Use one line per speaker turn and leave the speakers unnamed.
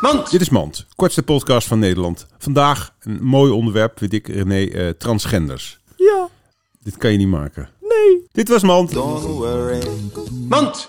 Mand!
Dit is Mand, kortste podcast van Nederland. Vandaag een mooi onderwerp, weet ik, René, eh, transgenders.
Ja,
Dit kan je niet maken.
nee.
Dit was Mand.
Mand!